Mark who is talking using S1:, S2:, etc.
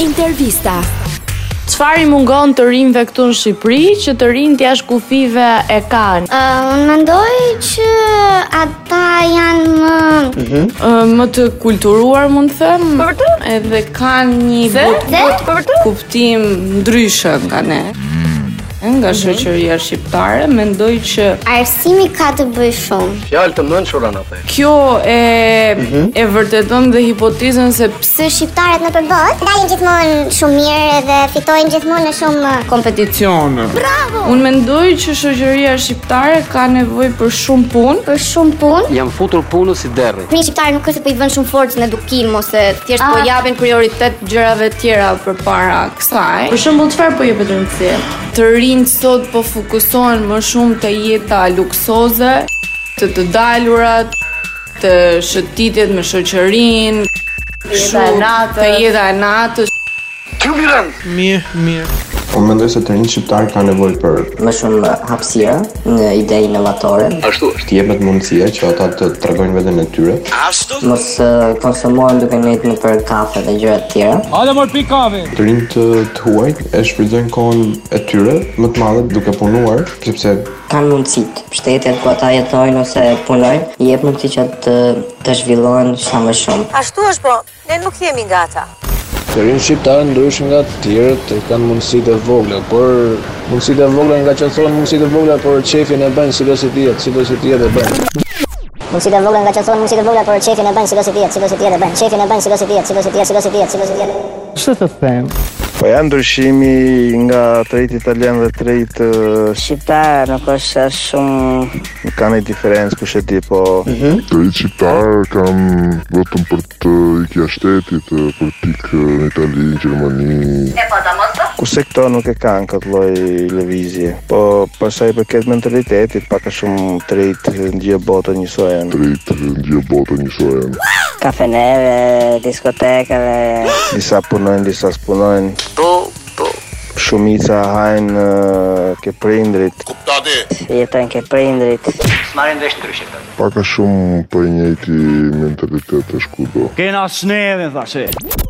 S1: Intervista.
S2: Çfarë i mungon të rinjve këtu në Shqipëri që të rinjt jashtë kufive e kanë?
S3: Uh, unë mendoj që ata janë më...
S2: Ë, Më të kulturuar mund të them.
S4: Po vërtet?
S2: Edhe kanë një but,
S3: Dhe?
S4: Po vërtet?
S2: kuptim ndryshe nga ne. Nga
S4: Mhm.
S2: shoqëria shqiptare, mendoj që
S3: Arsimi ka të bëj shumë.
S5: Fjalë të mëndshura na the.
S2: kjo e e vërteton dhe hipotezën se
S4: Po.
S2: pse
S3: Se shqiptarët në përbot dalin gjithmonë shumë mirë dhe fitojnë gjithmonë në shumë...
S6: kompeticione.
S2: unë mendoj që shoqëria shqiptare ka nevojë për shumë punë
S3: Për shumë punë,
S5: Jam futur punës si derri.
S7: Një shqiptar nuk është se po i vën shumë forcë në edukim ose thjesht po japin prioritet gjërave tjera përpara kësaj.
S2: Për shembull çfarë po jepet rëndësi? Të rinjt sot po fokusohen më shumë te jeta luksoze, të të dalurat, të shëtitjet me shoqërinë, jeta e natës, të jeta e natës.
S6: Mirë, mirë.
S8: Unë Po mendoj se të rinjt shqiptar ka nevojë për
S9: më shumë hapësirë në ide inovatore,
S5: Ashtu është.
S8: të jepet mundësia që ata të tregojnë veten e tyre.
S9: mos ë, konsumohen duke nejtë në për kafe dhe gjëra të tjera.
S8: Të rinjt të, të huaj e shfrytëzojnë kohën e tyre më të madhe duke punuar, sepse
S9: Kanë mundësit, shtetet ku ata jetojnë ose punojnë, i jep mundësi që të, të zhvillohen sa më shumë.
S4: Ashtu është po, ne nuk jemi nga ata.
S10: Të rinë shqiptarë ndryshë nga të tjerët e kanë mundësit e vogla, por mundësit e vogla nga që thonë mundësit e vogla, por qefin e bënë, si do si tjetë, si do si tjetë e bënë.
S3: Mundësit e vogla nga që thonë, mundësit e vogla, por qefin e bënë, si do si tjetë, si do si tjetë e bënë, qefin e bënë, si do si tjetë, si do si tjetë, si do si tjetë, si do si tjetë.
S10: Po janë ndryshimi nga të rritë italian dhe të rritë
S9: Shqiptar nuk është shumë
S10: kanë e diferencë, kush e di, po
S8: të rinjt shqiptar kanë vetëm për të ikja shtetit, për pikë në Itali, Gjermani.
S10: kurse këto nuk e kanë këtë lloj lëvizje. Po pasaj për këtë mentalitetit, pak e shumë të rritë ndje botën njësoj janë.
S8: Drejtë ndje botën njësoj janë.
S9: kafeneve, diskotekave,
S10: Disa punojnë, disa s'punojnë. Po, po. Shumica hajnë ë, ke prindrit,
S9: jetojnë ke prindrit.
S8: Paka shumë për njëti mentalitet e shkudo.
S6: Kena sneve, thashe.